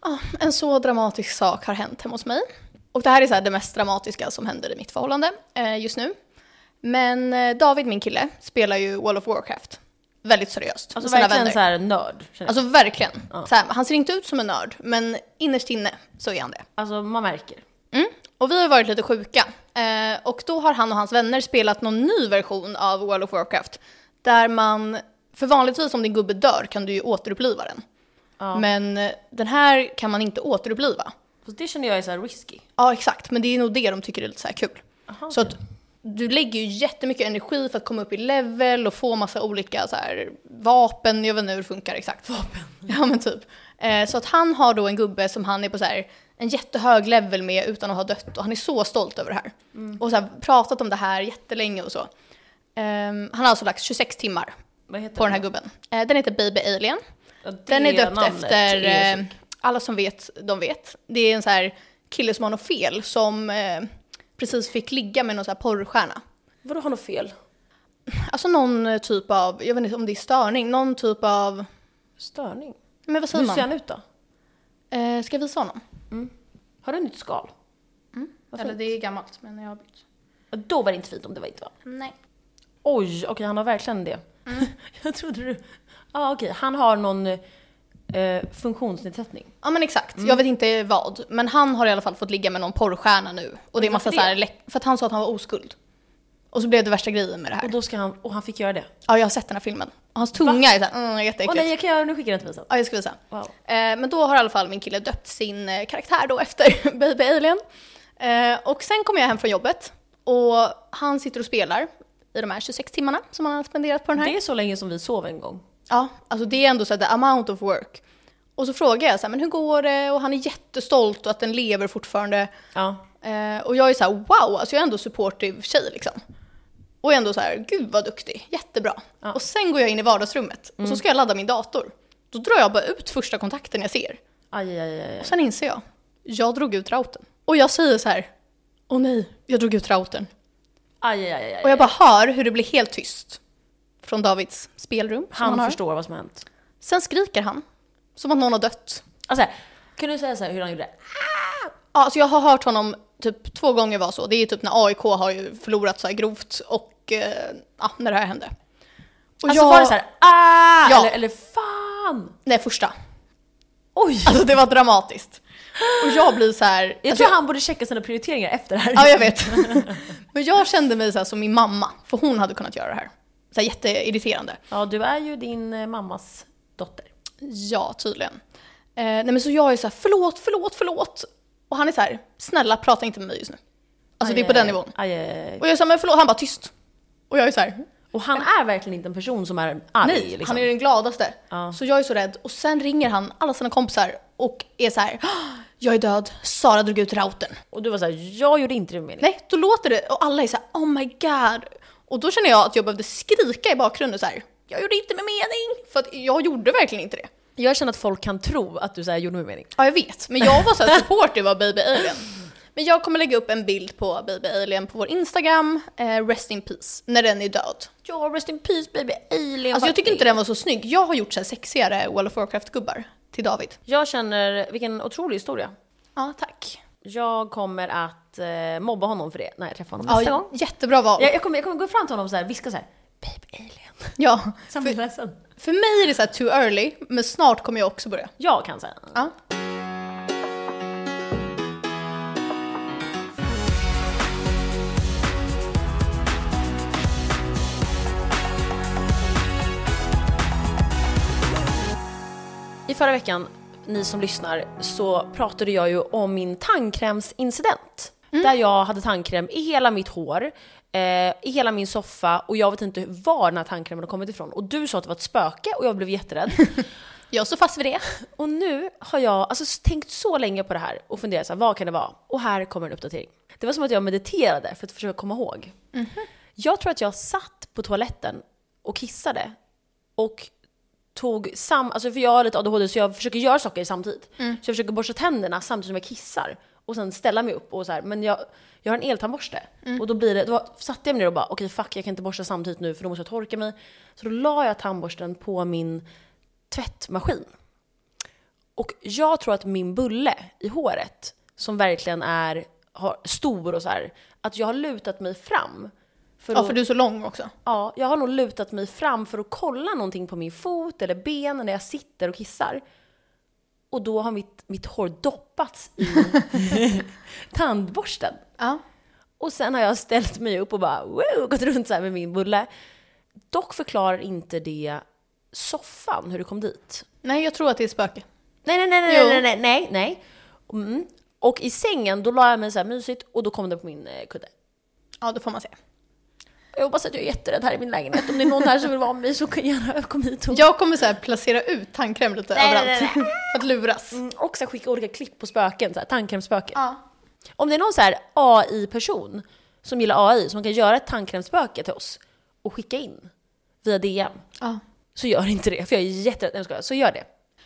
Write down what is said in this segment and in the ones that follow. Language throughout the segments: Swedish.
ja, en så dramatisk sak har hänt hemma hos mig. Och det här är så här det mest dramatiska som händer i mitt förhållande eh, just nu. Men eh, David, min kille, spelar ju World of Warcraft. Väldigt seriöst. med Alltså sina verkligen vänner. så här nörd. känner jag. Alltså verkligen. Så här, han ser inte ut som en nörd, men innerst inne så är han det. Alltså man märker. Mm. Och vi har ju varit lite sjuka. Eh, och då har han och hans vänner spelat någon ny version av World of Warcraft. Där man, för vanligtvis om din gubbe dör kan du ju återuppliva den. Men eh, den här kan man inte återuppliva. Fast det känner jag är så här risky. Ja exakt, men det är nog det de tycker är lite så här kul. så att du lägger ju jättemycket energi för att komma upp i level och få massa olika så här vapen, jag vet inte hur det funkar exakt. Vapen? Ja men typ. Eh, så att han har då en gubbe som han är på så här en jättehög level med utan att ha dött och han är så stolt över det här. Och så här, pratat om det här jättelänge och så. Ehm, han har alltså lagt 26 timmar Vad heter på den här gubben. Eh, den heter Baby Alien. Ja, det Den är döpt namnet efter, är eh, så- alla som vet, de vet. Det är en så här kille som har något fel som eh, precis fick ligga med någon så här porrstjärna. Vadå har något fel? Alltså någon eh, typ av, jag vet inte om det är störning, någon typ av, Störning? men vad säger Hur ser man? han ut då? Eh, ska jag visa honom? Har du nytt skal? Eller det är gammalt, men jag har bytt. Ja, Då var det inte fint om det var inte var. Nej. Oj, okej han har verkligen det. Mm. jag trodde du... Ja ah, okej, han har någon eh, funktionsnedsättning. Ja men exakt, jag vet inte vad. Men han har i alla fall fått ligga med någon porrstjärna nu. Och det är Men massa varför så här, läck- för att han sa att han var oskuld. Och så blev det värsta grejen med det Och här. då ska han... Och han fick göra det. Ja jag har sett den här filmen. Och hans tunga är såhär, mm, Åh jätteäckligt. nej, jag kan göra... Nu skickar jag den till mig sen. Ja, jag ska visa. Wow. Eh, men då har i alla fall min kille döpt sin eh, karaktär då efter Baby Alien. Eh, och sen kommer jag hem från jobbet och han sitter och spelar i de här 26 timmarna som han har spenderat på den här. Det är så länge som vi sov en gång. Ja, alltså det är ändå så här, the amount of work. Och så frågar jag så här, men hur går det? Och han är jättestolt och att den lever fortfarande. Ja. Eh, och jag är så här, wow, alltså jag är ändå supportive tjej liksom. Och ändå så här, gud vad duktig, jättebra. Och sen går jag in i vardagsrummet och så ska jag ladda min dator. Då drar jag bara ut första kontakten jag ser. Aj, aj, aj, aj. Och sen inser jag, jag drog ut routern. Och jag säger så här, åh nej, jag drog ut routern. aj, aj, aj, aj. Och jag bara hör hur det blir helt tyst från Davids spelrum. som Han har. förstår vad som har hänt. Sen skriker han, som att någon har dött. Alltså, kan du säga så här hur han gjorde? Ja, alltså jag har hört honom typ två gånger var så. Det är ju typ när AIK har ju förlorat så här grovt och eh, ja, när det här hände. Och Alltså jag- var det så här ah! Ja. Eller, eller fan! Nej, första. Oj! Alltså det var dramatiskt. Och jag blir så här... jag alltså, tror han borde checka sina prioriteringar efter det här. Ja, jag vet. Men jag kände mig så här som min mamma, för hon hade kunnat göra det här. Så här jätteirriterande. Ja, du är ju din eh, mammas dotter. Ja, tydligen. Eh, nej men så jag är så här, förlåt, förlåt, förlåt. Och han är så här, snälla prata inte med mig just nu. Alltså det är på Aj, den aj, nivån. Aj, aj, aj. Och jag är så här, men förlåt, han bara tyst. Och jag är så här, Och han är verkligen inte en person som är arg. nej, liksom. han är den gladaste. Ja. Så jag är så rädd. Och sen ringer han alla sina kompisar och är så här, "Ah, jag är död, Sara drog ut routern. Och du var såhär, jag gjorde inte det med mening. Nej, då låter det och alla är så här, oh my god. Och då känner jag att jag behövde skrika i bakgrunden så här, jag gjorde inte med mening. För att jag gjorde verkligen inte det. Jag känner att folk kan tro att du så här gjorde med mening. Ja, jag vet. Men jag var så här supportive av Baby Alien. Men jag kommer lägga upp en bild på Baby Alien på vår Instagram, eh, Rest in Peace, när den är död. Ja, rest in peace baby, alien. Alltså jag tycker inte den var så snygg. Jag har gjort så här sexigare World of Warcraft-gubbar till David. Jag känner, vilken otrolig historia. Ja, tack. Jag kommer att eh, mobba honom för det när jag träffar honom nästa Ja, gång. jättebra val. Jag, jag, kommer, jag kommer gå fram till honom och viska såhär, baby alien. Ja. Så han blir ledsen. För mig är det så här too early, men snart kommer jag också börja. Jag kan säga. Ja. I förra veckan, ni som lyssnar, så pratade jag ju om min tandkrämsincident. Där jag hade tandkräm i hela mitt hår, eh, i hela min soffa och jag vet inte var den här tandkrämen har kommit ifrån. Och du sa att det var ett spöke och jag blev jätterädd. Jag står fast vid det. och nu har jag alltså, tänkt så länge på det här och funderat så här, vad kan det vara? Och här kommer en uppdatering. Det var som att jag mediterade för att försöka komma ihåg. Jag tror att jag satt på toaletten och kissade och tog sam... Alltså för jag har lite ADHD så jag försöker göra saker samtidigt. Mm. Så jag försöker borsta tänderna samtidigt som jag kissar. Och sen ställa mig upp och så här, men jag, jag har en eltandborste. Mm. Och då blir det, då satte jag mig ner och bara okej fuck jag kan inte borsta samtidigt nu för då måste jag torka mig. Så då la jag tandborsten på min tvättmaskin. Och jag tror att min bulle i håret, som verkligen är har, stor och så här, att jag har lutat mig fram. För Ja, att- för du är så lång också. Ja, jag har nog lutat mig fram för att kolla någonting på min fot eller ben när jag sitter och kissar. Och då har mitt, mitt hår doppats i tandborsten. Ja. Och sen har jag ställt mig upp och bara wow, gått runt så här med min bulle. Dock förklarar inte det soffan hur det kom dit. Nej, jag tror att det är spöke. Nej, nej, nej, Jo. nej, nej, nej, nej, nej. Mm. Och i sängen, då la jag mig så här mysigt och då kom det på min eh, kudde. Ja, det får man se. Jag hoppas att jag är jätterädd här i min lägenhet. Om det är någon här som vill vara med mig så kan jag gärna komma hit och Jag kommer så här placera ut tandkräm lite Nej, överallt. nej, För att luras. Mm, och så här skicka olika klipp på spöken, så här, tandkrämsspöken. Ja. Om det är någon så här AI-person som gillar AI som kan göra ett tandkrämsspöke till oss och skicka in via DM, ja. så gör inte det. För jag är jätterädd. Nej, jag skojar. Så gör det.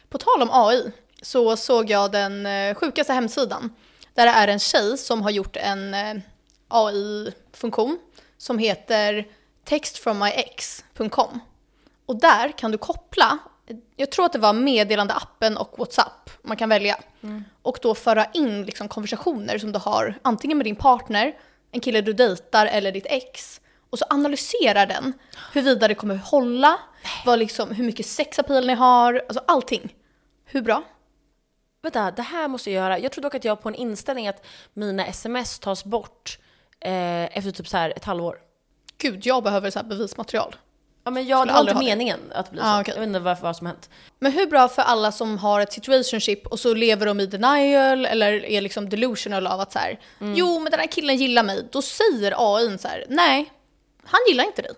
På tal om AI så såg jag den eh, sjukaste hemsidan. Där det är en tjej som har gjort en AI-funktion som heter textfrommyex.com. Och där kan du koppla, jag tror att det var meddelandeappen och WhatsApp man kan välja. Och då föra in liksom konversationer som du har antingen med din partner, en kille du dejtar eller ditt ex. Och så analyserar den huruvida det kommer hålla, vad liksom, hur mycket sexapil ni har, alltså allting. Hur bra? Vänta, det här måste jag göra. Jag tror dock att jag har på en inställning att mina sms tas bort eh, efter typ så här ett halvår. Gud, jag behöver så här bevismaterial. Ja, men jag, det Skulle var aldrig inte ha det. meningen att bli så. Ah, okej. Jag vet inte varför, vad som hänt. Men hur bra för alla som har ett situationship och så lever de i denial eller är liksom delusional av att så här, Mm. jo men den här killen gillar mig, då säger AI så här, nej, han gillar inte dig.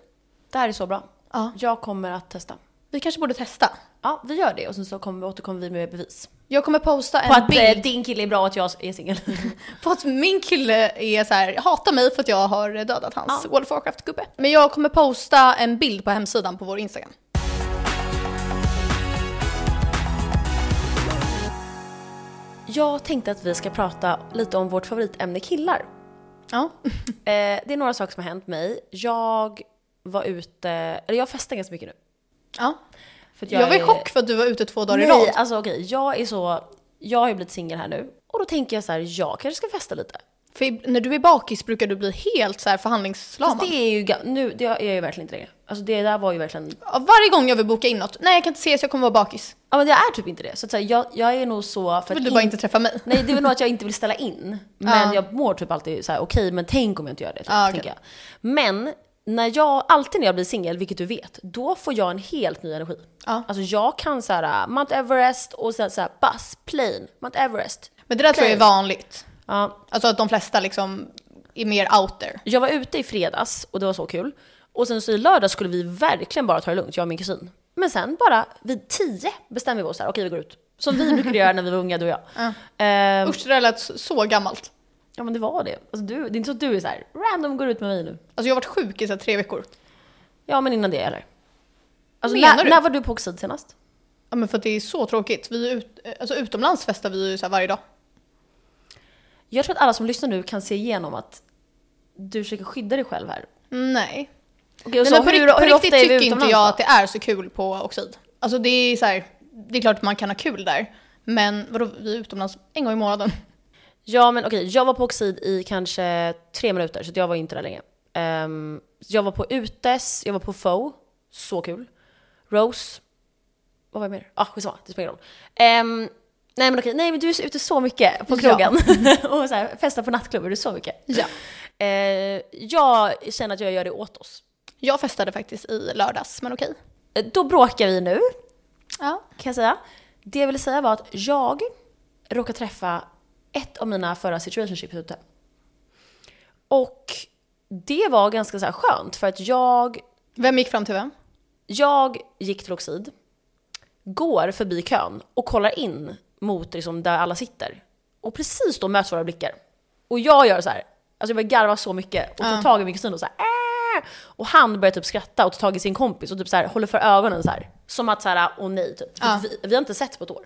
Det här är så bra. Ja. Jag kommer att testa. Vi kanske borde testa. Ja, vi gör det och sen så kommer vi, återkommer vi med bevis. Jag kommer posta en På att bild eh, din kille är bra och att jag är singel. på att min kille är så här, hatar mig för att jag har dödat hans World of Warcraft-gubbe. Men jag kommer posta en bild på hemsidan på vår Instagram. jag tänkte att vi ska prata lite om vårt favoritämne killar. Ja. Eh, det är några saker som har hänt mig. Jag var ute, eller jag festar ganska mycket nu. ja. För att Jag var i är- chock för att du var ute två dagar i Nej, rad. alltså okej, jag är så, jag har ju blivit singel här nu. Och då tänker jag så här, jag kanske ska festa lite. För i- när du är bakis brukar du bli helt så här Fast förhandlingslamad. det är ju, ga- nu, det är jag ju verkligen inte längre. Alltså det där var ju verkligen, Ja, Varje gång jag vill boka in något, nej jag kan inte ses, jag kommer vara bakis. ja men jag är typ inte det. Så att säga, jag, jag är nog så, för Då att vill du bara in- inte träffa mig. Nej, det är väl nog att jag inte vill ställa in. Men jag mår typ alltid så här: okej, men tänk om jag inte gör det. Typ, Ja, okej. tänker jag. Men, när jag, alltid när jag blir singel, vilket du vet, då får jag en helt ny energi. Ja. Alltså jag kan såhär Mount Everest och sen såhär bus, plane, Mount Everest. Men det där tror jag är Okej. vanligt. Ja. Alltså att de flesta liksom är mer out there. Jag var ute i fredags och det var så kul. Och sen så i lördag skulle vi verkligen bara ta det lugnt, jag och min kusin. Men sen bara vid tio bestämmer vi oss här, okej vi går ut. Som vi brukade göra när vi var unga du och jag. Ehm, Usch, det där lät så- så gammalt. ja men det var det. Alltså, du, det är inte så att du är såhär random går ut med mig nu. Alltså jag har varit sjuk i så här tre veckor. Ja, men innan det eller? Alltså, Menar när, du? när var du på Oxid senast? Ja men för att det är så tråkigt. Vi är ut, alltså utomlands festar vi ju så här varje dag. Jag tror att alla som lyssnar nu kan se igenom att du försöker skydda dig själv här. Nej. Okej, och Nej så men på, hur, rikt- på hur ofta riktigt är vi tycker inte utomlands jag då? att det är så kul på Oxid. Alltså det är så här, det är klart att man kan ha kul där. Men vadå, vi är utomlands en gång i månaden. Ja, men okej, jag var på Oxid i kanske tre minuter, så att jag var ju inte där länge. Ehm, jag var på Utes, jag var på Foe, så kul. Rose, vad var jag mer? Ah, skitsamma, det spelar ingen roll. Ehm, nej men okej, nej men du är ute så mycket på Ja. krogen. och så här, festar på nattklubbar, du är så mycket. Ja. Ehm, jag känner att jag gör det åt oss. Jag festade faktiskt i lördags, men okej. Eh, Då bråkar vi nu, Ja. kan jag säga. Det jag ville säga var att jag råkade träffa ett av mina förra situationships ute. Och det var ganska så här skönt för att jag, Vem gick fram till vem? jag gick till Oxid, går förbi kön och kollar in mot liksom där alla sitter. Och precis då möts våra blickar. Och jag gör så här, alltså jag börjar garva så mycket och tar tag i min kusin och så här, "Äh!" och han börjar typ skratta och tar tag i sin kompis och typ så här, håller för ögonen så här. Som att så här, åh nej typ. För Ja. Vi, vi har inte sett på ett år.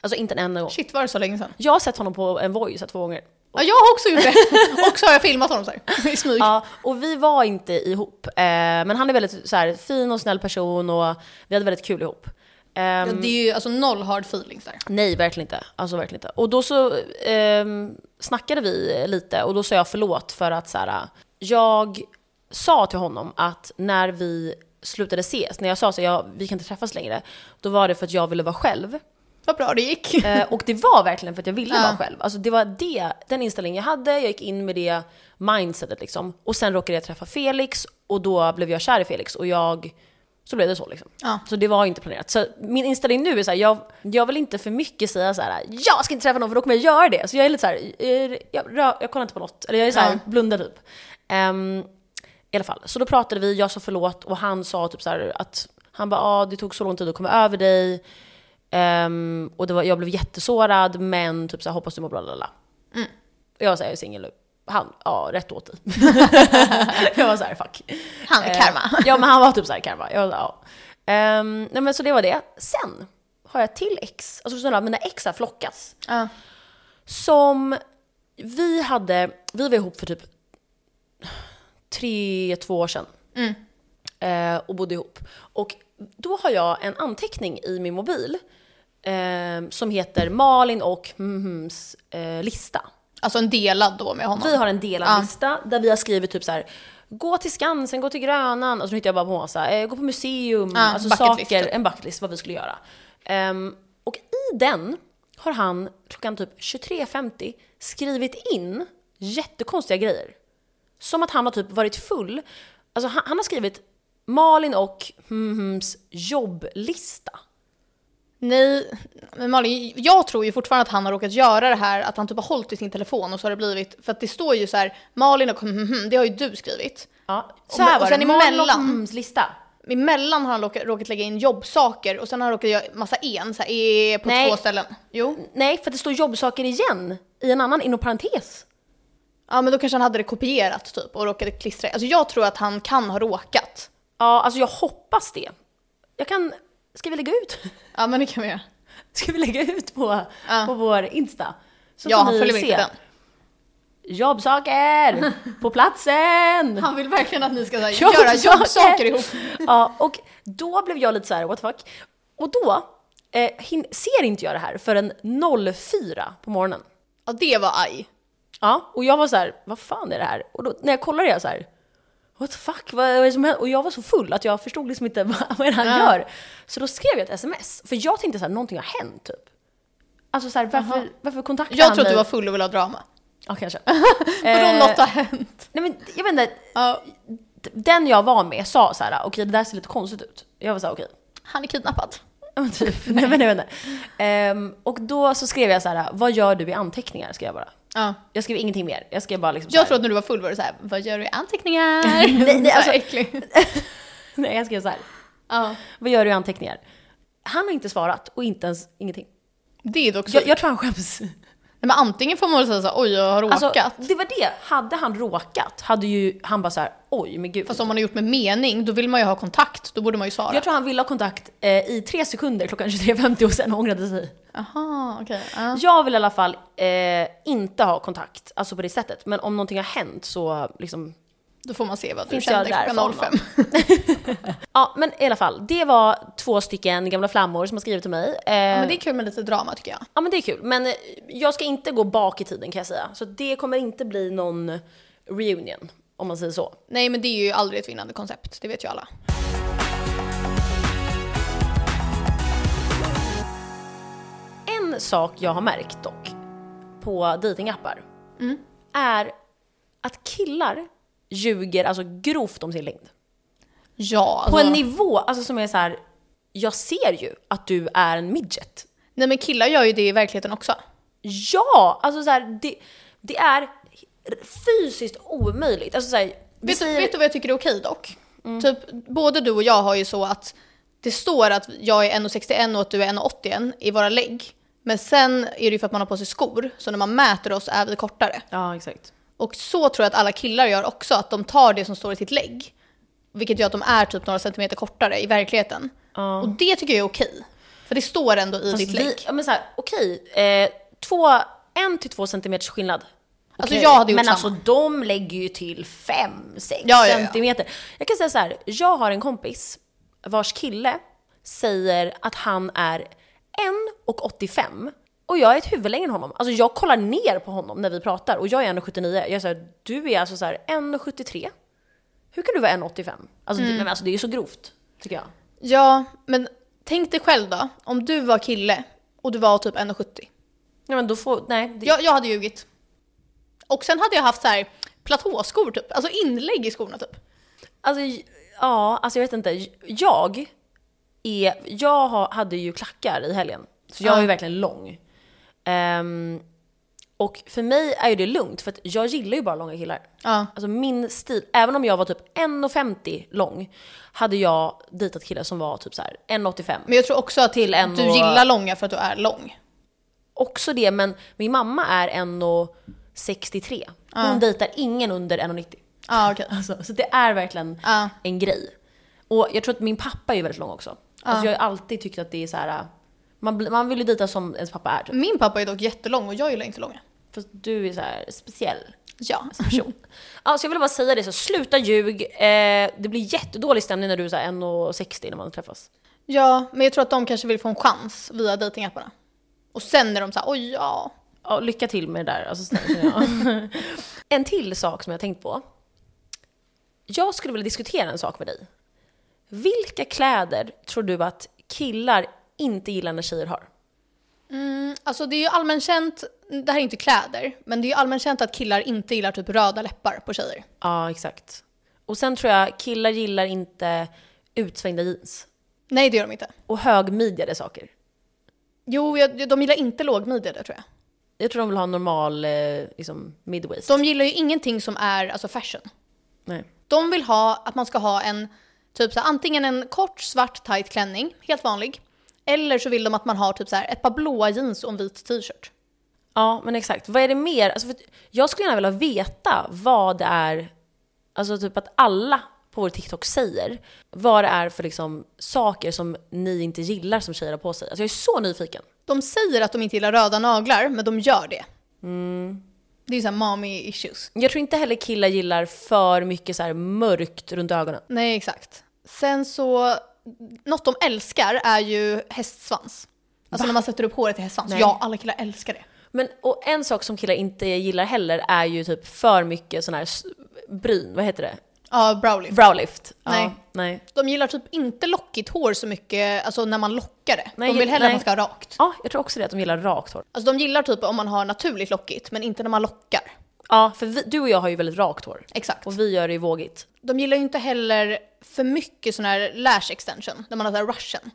Alltså inte en enda gång. Shit var det så länge sedan? Jag har sett honom på en Voi så här två gånger. Ja jag har också gjort det. och så har jag filmat honom så här, i smyg. Ja, ehm. och vi var inte ihop. Eh, men han är väldigt så här, fin och snäll person och vi hade väldigt kul ihop. Ja, det är ju alltså noll hard feelings där. Nej, verkligen inte. Alltså verkligen inte. Och då så ehm, snackade vi lite och då sa jag förlåt för att så här, jag sa till honom att när vi slutade ses, när jag sa så här, ja, vi kan inte träffas längre, då var det för att jag ville vara själv. Vad bra det gick. Eh, och det var verkligen för att jag ville Ja. vara själv. Alltså det var det, den inställningen jag hade, jag gick in med det mindsetet liksom. Och sen råkade jag träffa Felix och då blev jag kär i Felix och jag, så blev det så liksom. Ja. Så det var inte planerat. Så min inställning nu är så här, jag, jag vill inte för mycket säga så här, jag ska inte träffa någon för då kommer jag göra det. Så jag är lite så här, eh, jag, rör- jag kollar inte på något. Eller jag är så här, Ja. blundar typ. Ehm, I alla fall, så då pratade vi, jag sa förlåt och han sa typ så här att, han bara, ah, det tog så lång tid att komma över dig. Ehm, och det var, jag blev jättesårad men typ så här, hoppas du mår bra, lalala. Och Jag var såhär, jag är singel nu. Han, ja rätt åt dig. jag var såhär, fuck. Han är karma. Eh, ja men han var typ såhär karma. Jag var, så här, ja. Ehm, nej men så det var det. Sen har jag ett till ex, alltså sådana, mina ex här flockas. Ja. Som vi hade, vi var ihop för typ tre, två år sedan. Eh, och bodde ihop. Och då har jag en anteckning i min mobil eh, som heter Malin och mhms eh, lista. Alltså en delad då med honom. Vi har en delad Ja. lista där vi har skrivit typ så här. Gå till Skansen, gå till Grönan, och så hittar jag bara på så här, eh, gå på museum, Ja, alltså bucket list, saker, typ. en bucketlist vad vi skulle göra. Ehm, och i den har han klockan typ 23.50 skrivit in jättekonstiga grejer. Som att han har typ varit full. Alltså han, han har skrivit Malin och hmms jobblista. Nej, men Malin, jag tror ju fortfarande att han har råkat göra det här, att han typ har hållit i sin telefon och så har det blivit, för att det står ju så här, Malin och mm, mm, det har ju du skrivit. Ja, så här var det. Malin och hmms lista. Emellan har han råkat, råkat lägga in jobbsaker och sen har han råkat göra massa en, så här, e på Nej. två ställen. Jo. Nej, för att det står jobbsaker igen i en annan inom parentes. Ja men då kanske han hade det kopierat typ och råkade klistra. Alltså jag tror att han kan ha råkat. Ja, alltså jag hoppas det. Jag kan... Ska vi lägga ut? Ja men det kan vi göra. Ska vi lägga ut på, Ja. på vår Insta? Så Ja får han ni följer se. inte den. Jobbsaker! på platsen! Han vill verkligen att ni ska så här, Jobbsaker! göra jobbsaker ihop. ja, och då blev jag lite så här, what the fuck? Och då eh, hin- ser inte jag det här förrän 04 på morgonen. Ja det var aj. Ja, och jag var så här, vad fan är det här? Och då, när jag kollade jag så här, what the fuck, vad är det som händer? Och jag var så full att jag förstod liksom inte vad, vad är det han Ja. gör. Så då skrev jag ett sms, för jag tänkte så här, någonting har hänt typ. Alltså så här, varför, varför kontaktade Jag han tror att du mig? var full och ville ha drama. Ja, kanske. Vadå Eh, något har hänt? Nej men jag vet inte, Ja. den jag var med sa så här, okej det där ser lite konstigt ut. Jag var så här, okej. Han är kidnappad. Ja, men Typ. Nej men jag vet inte. Ehm, och då så skrev jag så här, vad gör du i anteckningar? Skrev jag bara. Ja. Jag skrev ingenting mer. Jag skrev bara liksom så här- Jag tror att när du var full var det såhär, vad gör du i anteckningar? nej, Så här alltså- äcklig. Nej jag skrev så här. Ja. Vad gör du i anteckningar? Han har inte svarat och inte ens ingenting. Det är dock så. Jag, jag tror han skäms. Nej, Men antingen får man väl säga såhär, oj jag har råkat. Alltså, det var det. Hade han råkat hade ju han bara så här, oj men gud. Fast om man har gjort med mening, då vill man ju ha kontakt. Då borde man ju svara. Jag tror han ville ha kontakt eh, i tre sekunder klockan 23.50 och sen ångrade sig. Aha, okej. ja. Jag vill i alla fall eh, inte ha kontakt, alltså på det sättet. Men om någonting har hänt så liksom... Då får man se vad du Finns jag kände där klockan för 05. Ja men i alla fall, det var två stycken gamla flammor som har skrivit till mig. Ja, Eh, men det är kul med lite drama tycker jag. Ja men det är kul. Men eh, jag ska inte gå bak i tiden kan jag säga. Så det kommer inte bli någon reunion, om man säger så. Nej men det är ju aldrig ett vinnande koncept, det vet ju alla. En sak jag har märkt dock, på datingappar Mm. är att killar ljuger alltså grovt om sin längd. Ja, På alltså. en nivå alltså, som är så här. jag ser ju att du är en midget. Nej men killar gör ju det i verkligheten också. Ja! Alltså så här, det, det är fysiskt omöjligt. Alltså så här, vi Vet, säger- Mm. vet du vad jag tycker är okej dock? Typ, både du och jag har ju så att det står att jag är 1,61 och att du är 1,81 i våra lägg. Men sen är det ju för att man har på sig skor, så när man mäter oss är vi kortare. Ja exakt. Och så tror jag att alla killar gör också, att de tar det som står i sitt lägg. Vilket gör att de är typ några centimeter kortare i verkligheten. Och det tycker jag är okej. För det står ändå i ditt Alltså, Vi, lägg. ja, men så här, okej, eh, två, en till två centimeters skillnad. Alltså, Okej, jag hade gjort Men samma. alltså de lägger ju till fem, sex Ja, ja, ja. centimeter. Jag kan säga så här, jag har en kompis vars kille säger att han är 1,85 och jag är ett huvud längre än honom. Alltså jag kollar ner på honom när vi pratar och jag är 1,79. Jag säger du är alltså så här 1,73. Hur kan du vara 1,85? Alltså, Mm. det, men alltså det är ju så grovt, tycker jag. Ja, men tänk dig själv då. Om du var kille och du var typ 1,70. Nej men då får, nej. Det, Jag, jag hade ljugit. Och sen hade jag haft så här platåskor typ. Alltså inlägg i skorna typ. Alltså, j- ja, alltså jag vet inte. Jag är, jag har, hade ju klackar i helgen. Så jag Ja. är ju verkligen lång. Ehm, och för mig är ju det lugnt för att jag gillar ju bara långa killar. Ja. Alltså min stil, även om jag var typ 1,50 lång hade jag dejtat killar som var typ så här 1,85. Men jag tror också att Till en du och- gillar långa för att du är lång. Också det, men min mamma är 1,63. Hon dejtar ingen under 1,90. Ja, okej. Alltså, så det är verkligen Ja. en grej. Och jag tror att min pappa är ju väldigt lång också. Alltså jag har ju alltid tyckt att det är så här. Man, bli- man vill ju dejta som ens pappa är. typ. Min pappa är dock jättelång och jag gillar inte långa. För att du är så här speciell Ja. person. alltså jag ville bara säga det, så sluta ljug. Eh, det blir jättedålig stämning när du är så här 1,60 när man träffas. Ja, men jag tror att de kanske vill få en chans via datingapparna. Och sen är de så här, oj ja. Ja, lycka till med det där. Alltså, snälla, känner jag. en till sak som jag har tänkt på. Jag skulle vilja diskutera en sak med dig. Vilka kläder tror du att killar inte gillar när tjejer har? Mm, alltså det är ju allmänt känt, det här är inte kläder, men det är ju allmänt känt att killar inte gillar typ röda läppar på tjejer. Ja, exakt. Och sen tror jag killar gillar inte utsvängda jeans Nej det gör de inte. och högmidjade saker. Jo, jag, de gillar inte lågmidjade tror jag. Jag tror de vill ha en normal eh, liksom, midwaist. De gillar ju ingenting som är alltså fashion. Nej. De vill ha att man ska ha en, typ så här, antingen en kort svart tight klänning, helt vanlig. Eller så vill de att man har typ så här, ett par blåa jeans och en vit t-shirt. Ja, men exakt. Vad är det mer? Alltså, för att jag skulle gärna vilja veta vad det är, alltså typ att alla på vår TikTok säger vad det är för liksom, saker som ni inte gillar som tjejer har på sig. Alltså jag är så nyfiken. De säger att de inte gillar röda naglar, men de gör det. Det är ju såhär mommy issues. Jag tror inte heller killar gillar för mycket så här mörkt runt ögonen. Nej, exakt. Sen så, något de älskar är ju hästsvans. Alltså när man sätter upp håret i hästsvans. Ja, alla killar älskar det. Men, och en sak som killar inte gillar heller är ju typ för mycket sån här s- bryn, vad heter det? Ja, browlift. Browlift. Nej. Ja, nej. De gillar typ inte lockigt hår så mycket, alltså när man lockar det. Nej, de vill hellre nej. att man ska ha rakt. ja, jag tror också det att de gillar rakt hår. Alltså de gillar typ om man har naturligt lockigt, men inte när man lockar. Ja, för vi, du och jag har ju väldigt rakt hår. Exakt. Och vi gör det ju vågigt. De gillar ju inte heller för mycket sån här lash extension, när man har sån här russian.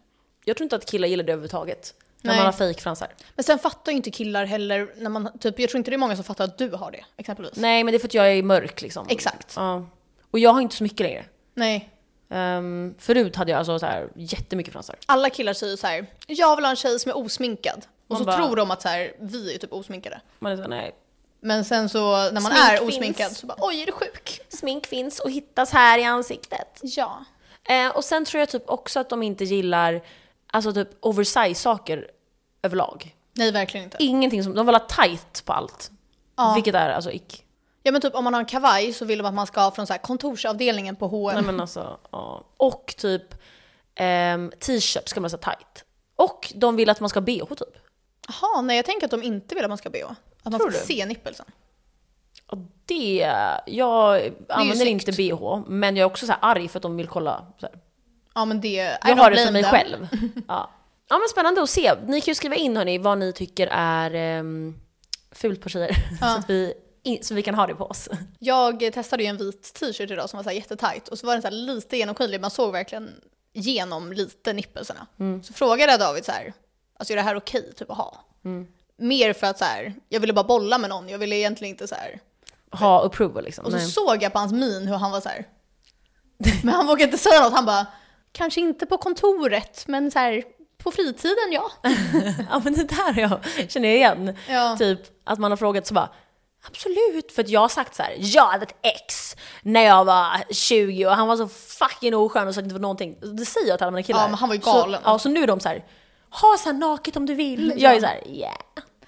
Jag tror inte att killar gillar det överhuvudtaget. När Nej. man har fejkfransar. Men sen fattar ju inte killar heller, när man, typ, jag tror inte det är många som fattar att du har det, exempelvis. Nej, men det är för att jag är mörk liksom. Exakt. Ja. Och jag har inte så mycket längre. Nej. Ehm, förut hade jag alltså så här jättemycket fransar. Alla killar säger så här: jag vill ha en tjej som är osminkad. Och Man så bara- tror de att så här, vi är typ osminkade. Man är så här, nej. Men sen så när man Smink är finns. osminkad så bara, oj är du sjuk? Smink finns och hittas här i ansiktet. Ja. Eh, och sen tror jag typ också att de inte gillar alltså typ oversize saker överlag. Nej verkligen inte. Ingenting som, de vill ha tight på allt. Ja. Vilket är alltså ick. Ja men typ om man har en kavaj så vill de att man ska ha från så här kontorsavdelningen på H&M. Nej men alltså, ja. Och typ ehm, t-shirt ska man ha så här tight. Och de vill att man ska ha bh typ. Jaha, nej jag tänker att de inte vill att man ska bh. Att man Tror ska du? se nippelsen. Och det, jag använder sekt. inte bh, men jag är också så här arg för att de vill kolla. Så här. Ja men det... I don't Jag har det för blame mig them. själv. Ja. ja men spännande att se. Ni kan ju skriva in hörni vad ni tycker är um, fult på tjejer. Så, att vi, in, så vi kan ha det på oss. Jag eh, testade ju en vit t-shirt idag som var så här jättetajt och så var den så här lite genomskinlig, man såg verkligen genom lite nippelserna. Mm. Så frågade jag David så här, alltså är det här okej typ att ha? Mm. Mer för att så här, jag ville bara bolla med någon, jag ville egentligen inte så här. Ha approval liksom. Och så Nej. såg jag på hans min hur han var så här. Men han vågade inte säga något, han bara, kanske inte på kontoret men så här på fritiden ja. Ja men det där har jag, känner jag igen. Ja. Typ att man har frågat så bara Absolut, för att jag har sagt så här. jag hade ett ex när jag var 20 och han var så fucking oskön och sa inte var någonting. Det säger jag till alla mina killar. Ja, men han var ju galen. Mm, Så, ja, så nu är de så här. ha så här naket om du vill. Jag är så här, yeah.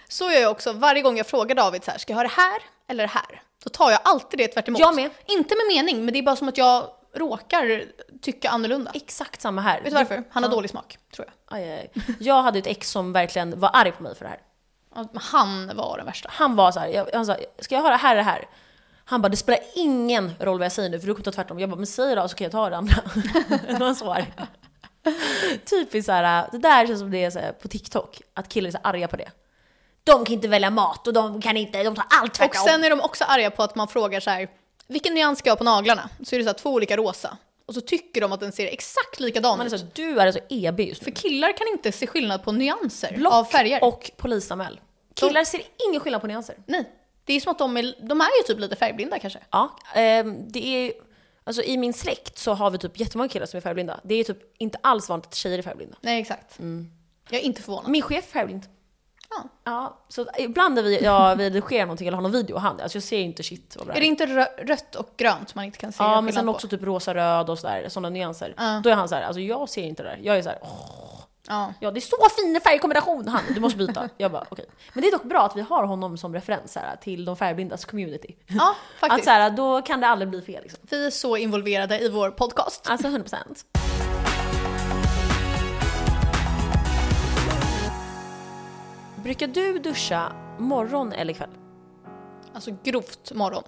Så gör jag också varje gång jag frågar David så här, ska jag ha det här eller det här? Då tar jag alltid det tvärt emot. Jag med. Inte med mening, men det är bara som att jag råkar tycka annorlunda. Exakt samma här. Vet du varför? Han har dålig smak, tror jag. Aj, aj, aj. Jag hade ett ex som verkligen var arg på mig för det här. Ja, men Han var den värsta. Han var så här, jag, han sa, ska jag ha det här eller det här? Han bara, det spelar ingen roll vad jag säger nu för du kommer ta tvärtom. Jag bara, men säg då så kan jag ta det andra. Det var så arg. Typiskt så här, det där känns som det är så här, på TikTok, att killar är så arga på det. De kan inte välja mat och de kan inte, de tar allt Och sen är de också arga på att man frågar så här, vilken nyans ska jag ha på naglarna? Så är det så här, två olika rosa. Och så tycker de att den ser exakt likadan Man är ut. så, här, du är så EB just nu. För killar kan inte se skillnad på nyanser av färger. och polisanmäl. Killar ser ingen skillnad på nyanser. Nej. Det är som att de är, de är ju typ lite färgblinda kanske. Ja, ehm, det är alltså i min släkt så har vi typ jättemånga killar som är färgblinda. Det är typ inte alls vanligt att tjejer är färgblinda. Nej exakt. Mm. Jag är inte förvånad. Min chef är färgblind. Ja. Ja, så ibland när vi, ja, vi redigerar någonting eller har någon video och han, alltså jag ser inte shit vad bra Är det inte rö- rött och grönt man inte kan se Ja, men skillnad sen på? Ah. också typ rosa, röd och sådär, sådana nyanser. Ja. Då är han så här, alltså jag ser inte det där. Jag är så här, åh, Ja. ja det är så fin färgkombination! Han, du måste byta. Jag bara, okej. Men det är dock bra att vi har honom som referens så här, till de färgblindas community. ja, Att faktiskt. så här, då kan det aldrig bli fel liksom. Vi är så involverade i vår podcast. Alltså 100%. Brukar du duscha morgon eller kväll? Alltså grovt morgon.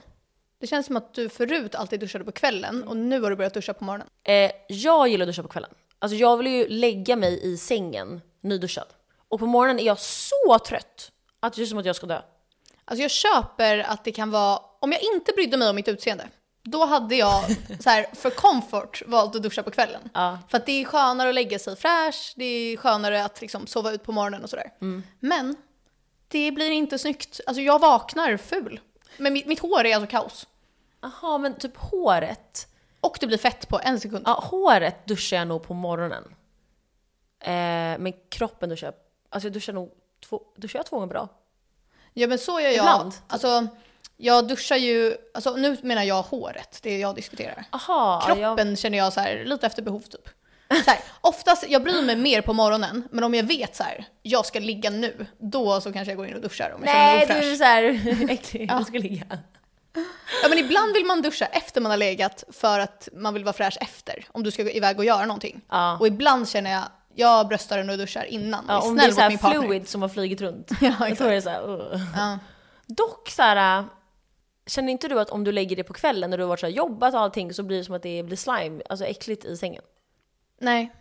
Det känns som att du förut alltid duschade på kvällen och nu har du börjat duscha på morgonen. Eh, jag gillar att duscha på kvällen. Alltså jag vill ju lägga mig i sängen nyduschad. Och på morgonen är jag så trött att det är som att jag ska dö. Alltså jag köper att det kan vara, om jag inte brydde mig om mitt utseende, då hade jag så här, för comfort valt att duscha på kvällen. Ja. För att det är skönare att lägga sig fräsch, det är skönare att liksom sova ut på morgonen och sådär. Mm. Men det blir inte snyggt. Alltså jag vaknar ful. Men mitt, mitt hår är alltså kaos. Jaha, men typ håret. Och det blir fett på en sekund. Ja, håret duschar jag nog på morgonen. Eh, men kroppen duschar jag... Alltså jag duschar nog två, duschar jag två gånger per dag. Ja men så gör jag. Ibland. Alltså jag duschar ju, alltså nu menar jag håret, det är jag diskuterar. Aha, ja, jag- Kroppen känner jag så här, lite efter behov typ. Så här, oftast, jag bryr mig mer på morgonen, men om jag vet så här, jag ska ligga nu, då så kanske jag går in och duschar om jag Nej, du känner mig är ofräsch. såhär äcklig. Jag ska ligga. Ja men ibland vill man duscha efter man har legat för att man vill vara fräsch efter, om du ska gå iväg och göra någonting. Ja. Och ibland känner jag, jag bröstar den och duschar innan. liksom, Ja, och är om det snäll är mot såhär min partner. fluid som har flugit runt. Ja, Då är exakt. det såhär... Uh. Ja. Dock såhär... äh, Känner inte du att om du lägger det på kvällen när du har varit såhär jobbat och allting så blir det som att det blir slime, alltså äckligt i sängen? Nej.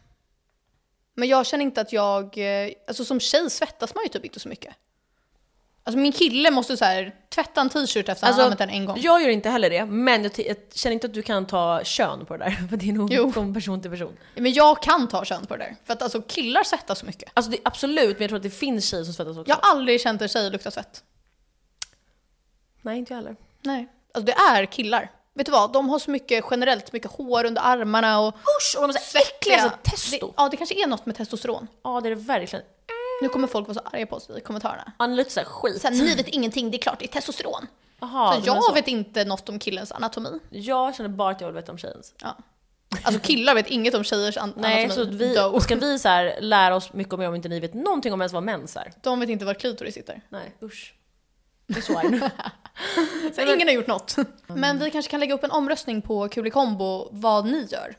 Men jag känner inte att jag, eh, alltså som tjej svettas man ju typ inte så mycket. Alltså min kille måste så här tvätta en t-shirt efter Alltså, han har använt den en gång. Jag gör inte heller det, men jag, ty- jag känner inte att du kan ta kön på det där. För det är nog Jo. från person till person. Men jag kan ta kön på det där. För att alltså killar svettas så mycket. Alltså det, är absolut, men jag tror att det finns tjejer som svettas också. Jag har aldrig känt en tjej lukta svett. Nej, inte jag heller. Nej. Alltså det är killar. Vet du vad, de har så mycket generellt, mycket hår under armarna och Usch! Och de är så äckliga! Alltså, testo! Det, ja det kanske är något med testosteron. Ja, det är det verkligen. Nu kommer folk vara så arga på oss i kommentarerna. Han är lite såhär skit. Sen, ni vet ingenting, det är klart det är testosteron. Aha, så du menar jag vet inte något om killens anatomi. Jag känner bara att jag vill veta om tjejens. Ja. Alltså killar vet inget om tjejers an- Nej, så anatomi. att vi, Though. ska vi så här, lära oss mycket om er om inte ni vet någonting om ens vad mens är? De vet inte var klitoris sitter. Nej, usch. Det är så arg nu. Så ingen har gjort något. Men vi kanske kan lägga upp en omröstning på Kulikombo vad ni gör.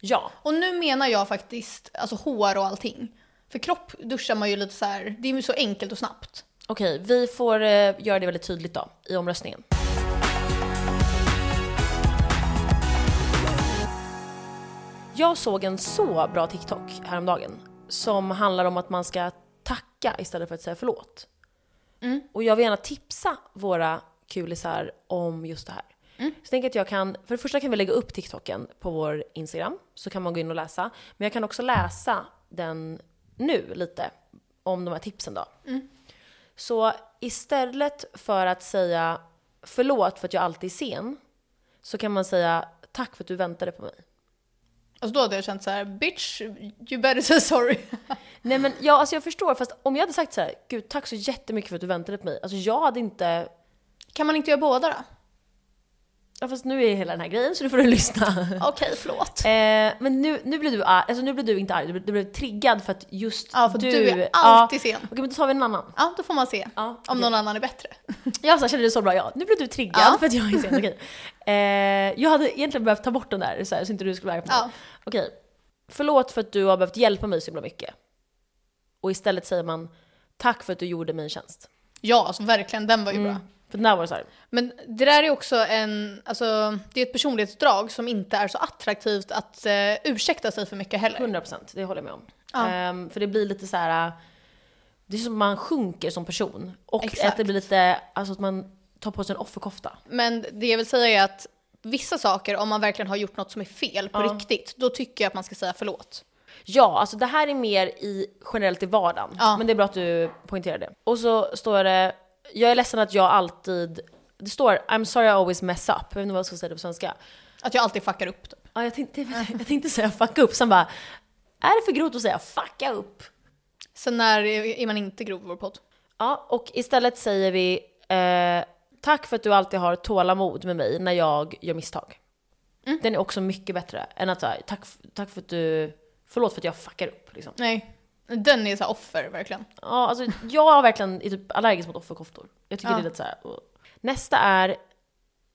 Ja, Och nu menar jag faktiskt alltså hår och allting. För kropp duschar man ju lite så här. det är ju så enkelt och snabbt. okej, vi får eh, göra det väldigt tydligt då i omröstningen. Jag såg en så bra TikTok häromdagen som handlar om att man ska tacka istället för att säga förlåt. Och jag vill gärna tipsa våra kulisar om just det här. Så tänker jag att jag kan, för det första kan vi lägga upp TikToken på vår Instagram, så kan man gå in och läsa. Men jag kan också läsa den nu lite, om de här tipsen då. Så istället för att säga förlåt för att jag alltid är sen, så kan man säga tack för att du väntade på mig. Alltså då hade jag känt så här: bitch, you better say sorry. Nej men jag, alltså jag förstår, fast om jag hade sagt så här, gud tack så jättemycket för att du väntade på mig. Alltså jag hade inte, kan man inte göra båda då? ja, fast nu är hela den här grejen så nu får du lyssna. Okej, förlåt. Eh, men nu, nu blir du arg, alltså nu blir du inte arg, du blev, du blev triggad för att just Ja, för du... du, är alltid ja. sen. Okej men då tar vi en annan. Ja, då får man se Ja, om någon annan är bättre. Jag så här, känner det så bra, ja. Nu blev du triggad Ja. för att jag är sen, okej. Eh, jag hade egentligen behövt ta bort den där så, här, så inte du skulle vara arg på mig. Ja. Okej, förlåt för att du har behövt hjälpa mig så himla mycket. Och istället säger man tack för att du gjorde mig en tjänst. Mm. ja, alltså verkligen. Den var ju bra. För den där var det så här, Men det där är också en, alltså, det är ett personlighetsdrag som inte är så attraktivt att eh, ursäkta sig för mycket heller. 100% det håller jag med om. Ja. Ehm, för det blir lite så här. äh, det är som man sjunker som person. Och Exakt. att det blir lite, alltså att man tar på sig en offerkofta. Men det jag vill säga är att vissa saker, om man verkligen har gjort något som är fel på riktigt, då tycker jag att man ska säga förlåt. Ja, alltså det här är mer i, generellt i vardagen. Ja. Men det är bra att du poängterar det. Och så står det, jag är ledsen att jag alltid, det står I'm sorry I always mess up. Jag vet inte vad jag ska säga det på svenska. Att jag alltid fuckar upp. Typ. Ja, jag, tänkte, jag tänkte säga fucka upp, sen bara, är det för grovt att säga fucka upp? Sen när är man inte grov i vår podd. Ja, och istället säger vi eh, tack för att du alltid har tålamod med mig när jag gör misstag. Den är också mycket bättre än att säga tack, f- tack för att du, förlåt för att jag fuckar upp. Liksom. Nej, den är så här offer verkligen. Ja, alltså, jag är verkligen är typ allergisk mot offerkoftor. Jag tycker Ja. det är lite så här. uh. Nästa är,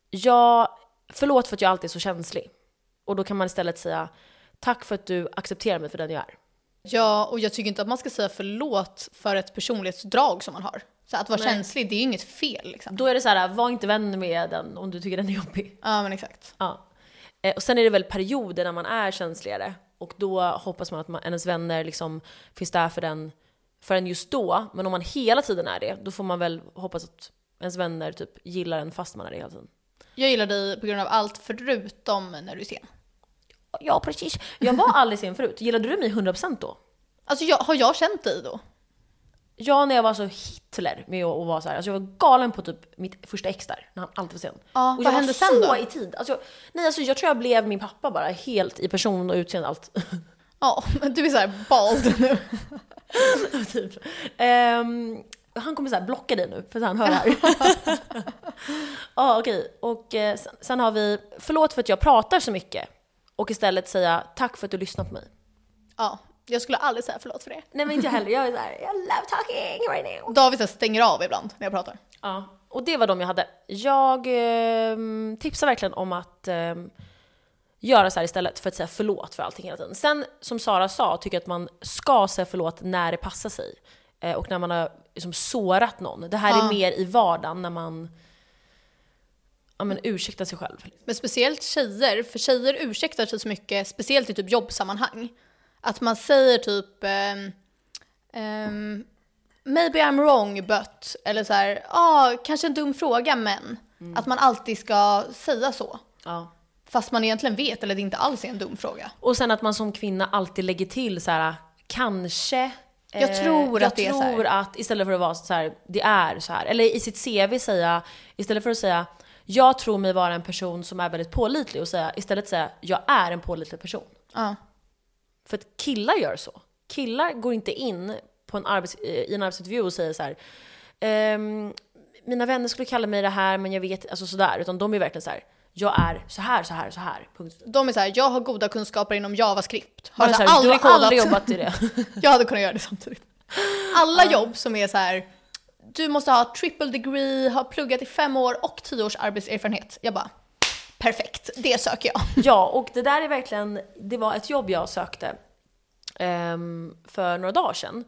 jag, förlåt för att jag alltid är så känslig. Och då kan man istället säga tack för att du accepterar mig för den jag är. Ja, och jag tycker inte att man ska säga förlåt för ett personlighetsdrag som man har. Så att vara känslig, det är ju inget fel liksom. Då är det så här, äh, var inte vän med den om du tycker den är jobbig. Ja, men exakt. Ja. Eh, Och sen är det väl perioder när man är känsligare. Och då hoppas man att man, ens vänner liksom finns där för, den, för en just då. Men om man hela tiden är det, då får man väl hoppas att ens vänner typ gillar en fast man är det hela tiden. Jag gillar dig på grund av allt förutom när du är sen. Ja, precis. Jag var aldrig sen förut. Gillade du mig 100% då? Alltså jag, har jag känt dig då? Ja, när jag var så Hitler med att att vara så här. Alltså jag var galen på typ mitt första ex där, när han alltid var sen. Ja, och vad jag hände var sen så då? i tid. Alltså jag, nej, alltså jag tror jag blev min pappa bara, helt i person och utseende allt. Ja, men du är så här bald nu. typ. Ehm, han kommer så här blocka dig nu för att han hör det här. ja okej, och eh, sen, sen har vi förlåt för att jag pratar så mycket och istället säga tack för att du lyssnar på mig. Ja, jag skulle aldrig säga förlåt för det. Nej men inte jag heller, jag är såhär I love talking right now. David så här stänger av ibland när jag pratar. Ja, och det var de jag hade. Jag ehm, tipsar verkligen om att ehm, göra så här istället för att säga förlåt för allting hela tiden. Sen som Sara sa tycker jag att man ska säga förlåt när det passar sig. Eh, och när man har liksom, sårat någon. Det här Ja. är mer i vardagen när man ja, men, ursäktar sig själv. Men speciellt tjejer, för tjejer ursäktar sig så mycket, speciellt i typ jobbsammanhang. Att man säger typ ehm, ehm, “Maybe I'm wrong but” eller så här “Ah, kanske en dum fråga men”. Att man alltid ska säga så. Ja. Fast man egentligen vet, eller det inte alls är en dum fråga. Och sen att man som kvinna alltid lägger till så här kanske. eh, Jag tror jag att det är så här. tror att istället för att vara så här, det är så här. Eller i sitt CV säga, istället för att säga jag tror mig vara en person som är väldigt pålitlig och säga, istället säga jag är en pålitlig person. Ja. För att killar gör så. Killar går inte in på en arbets, eh, i en arbetsintervju och säger så här. Ehm, mina vänner skulle kalla mig det här men jag vet, alltså sådär. Utan de är verkligen så här. jag är så här, så här, så här. Punkt. De är så här, “Jag har goda kunskaper inom JavaScript”. Har, Man är så så här, här, aldrig du har kodat. Alltså, aldrig jobbat i det. Jag hade kunnat göra det samtidigt. Alla jobb som är så här. du måste ha triple degree, ha pluggat i fem år och tio års arbetserfarenhet. Jag bara, perfekt, det söker jag. Ja, och det där är verkligen, det var ett jobb jag sökte ehm, för några dagar sedan.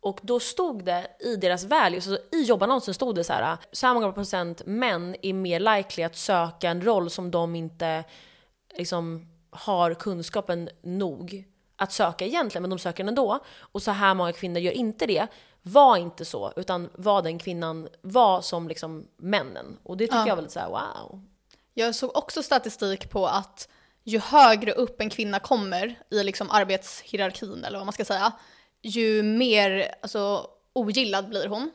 Och då stod det i deras values, alltså i jobbannonsen stod det så här, så här många procent män är mer likely att söka en roll som de inte liksom har kunskapen nog att söka egentligen, men de söker den ändå. Och så här många kvinnor gör inte det. Var inte så, utan var den kvinnan var som liksom männen. Och det tycker jag var lite så här: wow. Jag såg också statistik på att ju högre upp en kvinna kommer i liksom arbetshierarkin eller vad man ska säga, ju mer alltså, ogillad blir hon.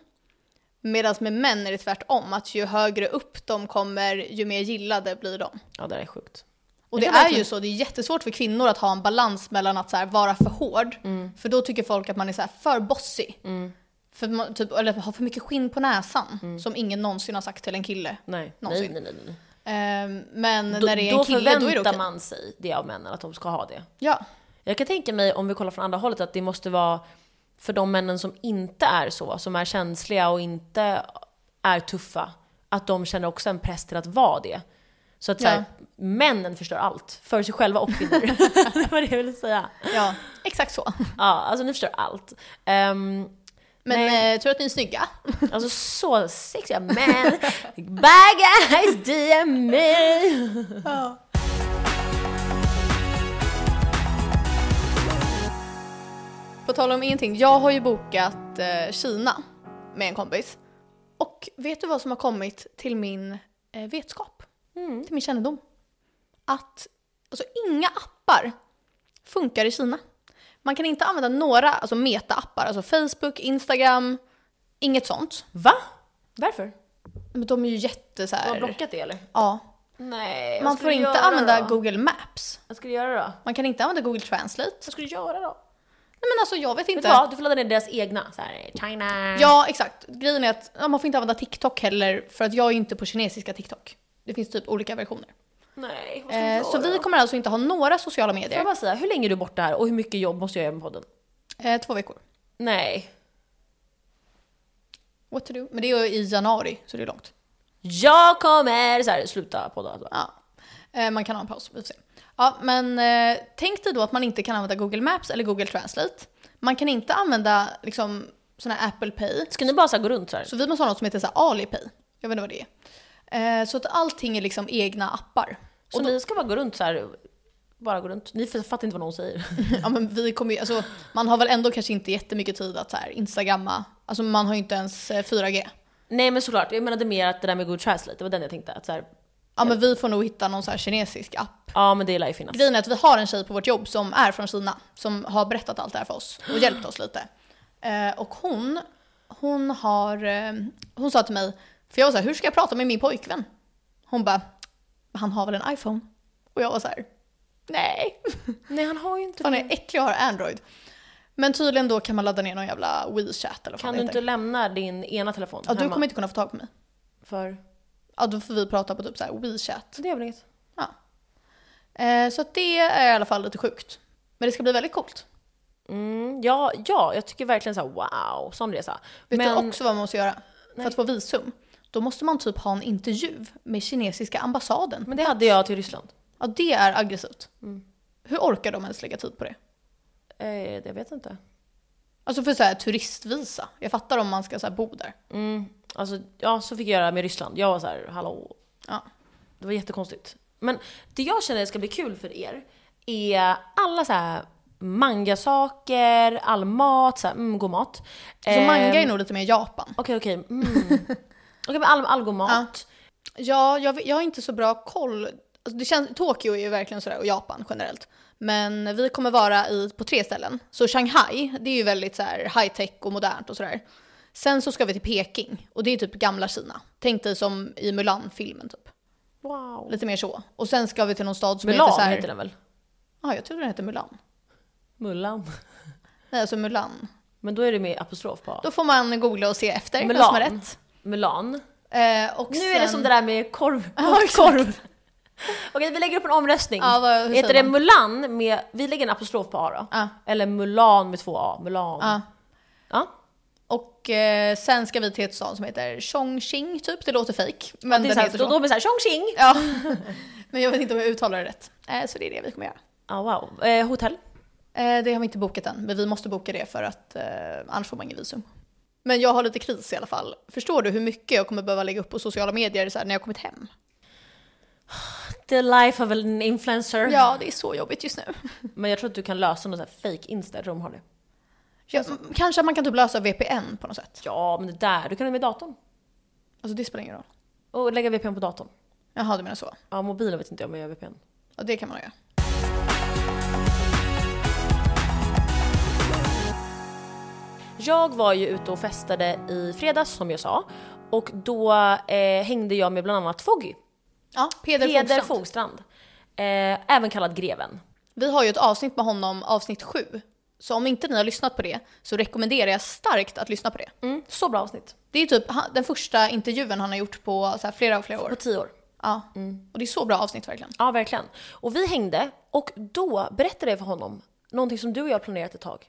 Medan med män är det tvärtom, att ju högre upp de kommer, ju mer gillade blir de. Ja, det där är sjukt. Och det kan är verkligen- ju så, det är jättesvårt för kvinnor att ha en balans mellan att så här, vara för hård, Mm. för då tycker folk att man är så här, för bossig. För att man, typ, eller har för mycket skinn på näsan, Mm. som ingen någonsin har sagt till en kille. Nej, nej, Någonsin. nej, nej. nej. Ehm, men Då, när det är då en kille, förväntar då är det okej. man sig det av männen, att de ska ha det. Ja. Jag kan tänka mig, om vi kollar från andra hållet, att det måste vara för de männen som inte är så, som är känsliga och inte är tuffa, att de känner också en press till att vara det. Så att Ja. så här, männen förstör allt, för sig själva och kvinnor. det var det jag ville säga. Ja, exakt så. Ja, alltså ni förstör allt. Ehm, Men Nej. eh, tror att ni är snygga. alltså så sexiga män. Bad guys DM me! På tal om ingenting, jag har ju bokat eh, Kina med en kompis. Och vet du vad som har kommit till min eh, vetskap? Mm. Till min kännedom? Att alltså, inga appar funkar i Kina. Man kan inte använda några alltså meta-appar, alltså Facebook, Instagram, inget sånt. Va? Varför? Men de är ju jätte så Du har här, blockat det eller? ja. Nej, vad Man ska får du inte göra använda då? Google Maps. Vad ska du göra då? Man kan inte använda Google Translate. Vad ska du göra då? Nej men alltså jag vet Vet inte. du vad? Mm. Du får ladda ner deras egna, så här, China. Ja, exakt. Grejen är att ja, man får inte använda TikTok heller för att jag är inte på kinesiska TikTok. Det finns typ olika versioner. Nej, vad ska du Eh, göra? så vi kommer alltså inte ha några sociala Får jag medier. bara säga, hur länge är du borta här och hur mycket jobb måste jag göra med podden? Eh, två veckor. Nej. What to do? Men det är ju i januari, så det är långt. Jag kommer så här, sluta podda. Alltså. Ja. Eh, man kan ha en paus, vi får se. Ja, men eh, tänk dig då att man inte kan använda Google Maps eller Google Translate. Man kan inte använda liksom sån här Apple Pay. Ska ni bara så här, gå runt så här? Så vi måste ha något som heter så här Alipay. Jag vet inte vad det är. Eh, så att allting är liksom egna appar. Så och ni ska bara gå runt så här? Bara gå runt? Ni fattar inte vad någon säger. Ja men vi kommer ju, alltså, man har väl ändå kanske inte jättemycket tid att så här, instagramma. Alltså man har ju inte ens eh, 4G. Nej men såklart, jag menade mer att det där med Google Translate, det var den jag tänkte. Att så här, Ja men vi får nog hitta någon så här kinesisk app. ja men det lär ju finnas. Grejen är att vi har en tjej på vårt jobb som är från Kina. Som har berättat allt det här för oss och hjälpt oss lite. Eh, och hon, hon har, eh, hon sa till mig, för jag var så här, hur ska jag prata med min pojkvän? Hon bara, han har väl en iPhone? Och jag var så här, nej. Nej han har ju inte Fan jag är äcklig och har Android. Men tydligen då kan man ladda ner någon jävla WeChat eller vad fan Kan det du heter. inte lämna din ena telefon Ja, du hemma? kommer inte kunna få tag på mig. För? Ja, då får vi prata på typ så här WeChat. Så det är väl inget? Ja. Eh, så att det är i alla fall lite sjukt. Men det ska bli väldigt coolt. Mm, ja, ja, jag tycker verkligen så här, wow, sån resa. Vet Men- du också vad man måste göra? För att få visum. Då måste man typ ha en intervju med kinesiska ambassaden. Men det hade jag till Ryssland. Ja, det är aggressivt. Hur orkar de ens lägga tid på det? Eh, jag vet inte. Alltså för så här turistvisa. Jag fattar om man ska så här bo där. Mm, alltså, ja, så fick jag göra med Ryssland. Jag var så här, hallå. Ja. Det var jättekonstigt. Men det jag känner ska bli kul för er är alla så här mangasaker, all mat, så här, mm, god mat. Så Eh, Alltså, manga är nog lite mer Japan. Okej, okej. mm. Okej, men all, all god mat. Ja, jag, vet- jag har inte så bra koll. Alltså det känns, Tokyo är ju verkligen sådär, och Japan generellt. Men vi kommer vara i, på tre ställen. Så Shanghai, det är ju väldigt så high-tech och modernt och sådär. Sen så ska vi till Peking, och det är typ gamla Kina. Tänk dig som i Mulan-filmen typ. Wow. Lite mer så. Och sen ska vi till någon stad som Mulan heter såhär... heter den väl? Ja, jag trodde den hette Mulan. Mullan. Nej, alltså Mulan. Men då är det med apostrof på. Då får man googla och se efter vad som Mulan. är rätt. Mulan. Eh, och Nu sen... är det som det där med korv. Ja, exakt. Okej, vi lägger upp en omröstning. Ja, vad, hur Heter säger det man? Mulan med, vi lägger en apostrof på A då. Ja. Eller Mulan med två A, Mulan. Ja. Ja. Och eh, sen ska vi till ett stad som heter Chongqing typ, det låter fejk. Men Det är den så här, heter då, så. då blir det såhär tjong tjing! Ja. men jag vet inte om jag uttalar det rätt. Eh, så det är det vi kommer göra. Ja wow. Eh, hotell? Eh, det har vi inte bokat än, men vi måste boka det för att eh, annars får man ingen visum. Men jag har lite kris i alla fall. Förstår du hur mycket jag kommer behöva lägga upp på sociala medier så här, när jag kommit hem? The life of an influencer. Ja, det är så jobbigt just nu. Men jag tror att du kan lösa något sånt här fake insta de har det. Jag, Mm. m- kanske man kan typ lösa VPN på något sätt. Ja men det där, du kan ha med datorn. Alltså det spelar ingen roll. Och lägga VPN på datorn. Jaha, du menar så. Ja mobilen vet inte jag om jag gör VPN. Ja, det kan man göra. Jag var ju ute och festade i fredags som jag sa. Och då eh, hängde jag med bland annat Foggy. Ja, Peder, Peder Fogstrand. Fogstrand. Eh, även kallad Greven. Vi har ju ett avsnitt med honom, avsnitt 7. Så om inte ni har lyssnat på det så rekommenderar jag starkt att lyssna på det. Mm, så bra avsnitt. Det är typ han- den första intervjun han har gjort på så här flera och flera På år. tio år. Ja. Mm. Och det är så bra avsnitt verkligen. Ja, verkligen. Och vi hängde och då berättade jag för honom någonting som du och jag har planerat ett tag.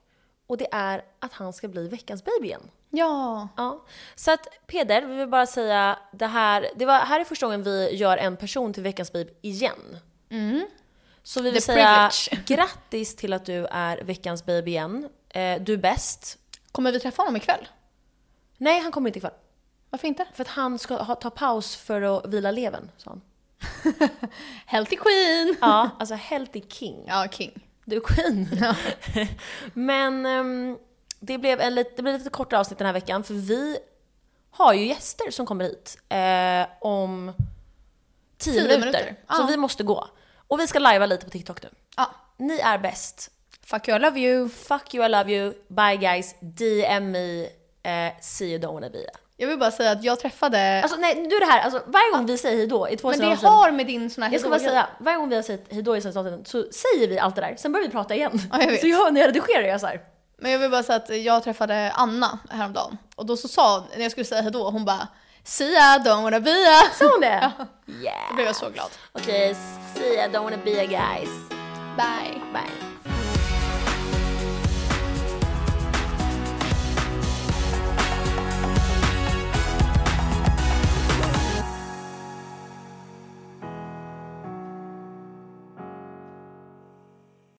Och det är att han ska bli veckans baby igen. Ja. Ja. Så att Peder, vi vill bara säga det här. Det var, här är första gången vi gör en person till veckans bib igen. Mm. Så vi vill The säga privilege. grattis till att du är veckans bib igen. Eh, du är bäst. Kommer vi träffa honom ikväll? Nej, han kommer inte ikväll. Varför inte? För att han ska ha, ta paus för att vila levern, sa han. Healthy Queen! Ja, alltså healthy king. Ja, King. Du är queen. Men ehm, det, blev en lit, det blev lite kortare avsnitt den här veckan för vi har ju gäster som kommer hit eh, om 10 Tio minuter. minuter, Så ja. vi måste gå. Och vi ska lajva lite på TikTok nu. Ja. Ni är bäst. Fuck you, I love you. Fuck you, I love you. Bye guys. DM me. Eh, see you don't wanna be. Jag vill bara säga att jag träffade... Alltså nej, nu är det här. Alltså, varje gång vi säger hejdå i två men det avsnitt. har med din sån här Jag ska bara hejdå- säga, varje gång vi har sagt hejdå i sällskapet så säger vi allt det där, sen börjar vi prata igen. Ja, jag vet. så jag, när jag redigerar är jag så här. Men jag vill bara säga att jag träffade Anna häromdagen. Och då så sa, när jag skulle säga hejdå, hon bara Sia, don't wanna be a. Sa hon det? Yeah! Då blev jag så glad. Okej, see ya, don't wanna be a guys. Bye. Bye.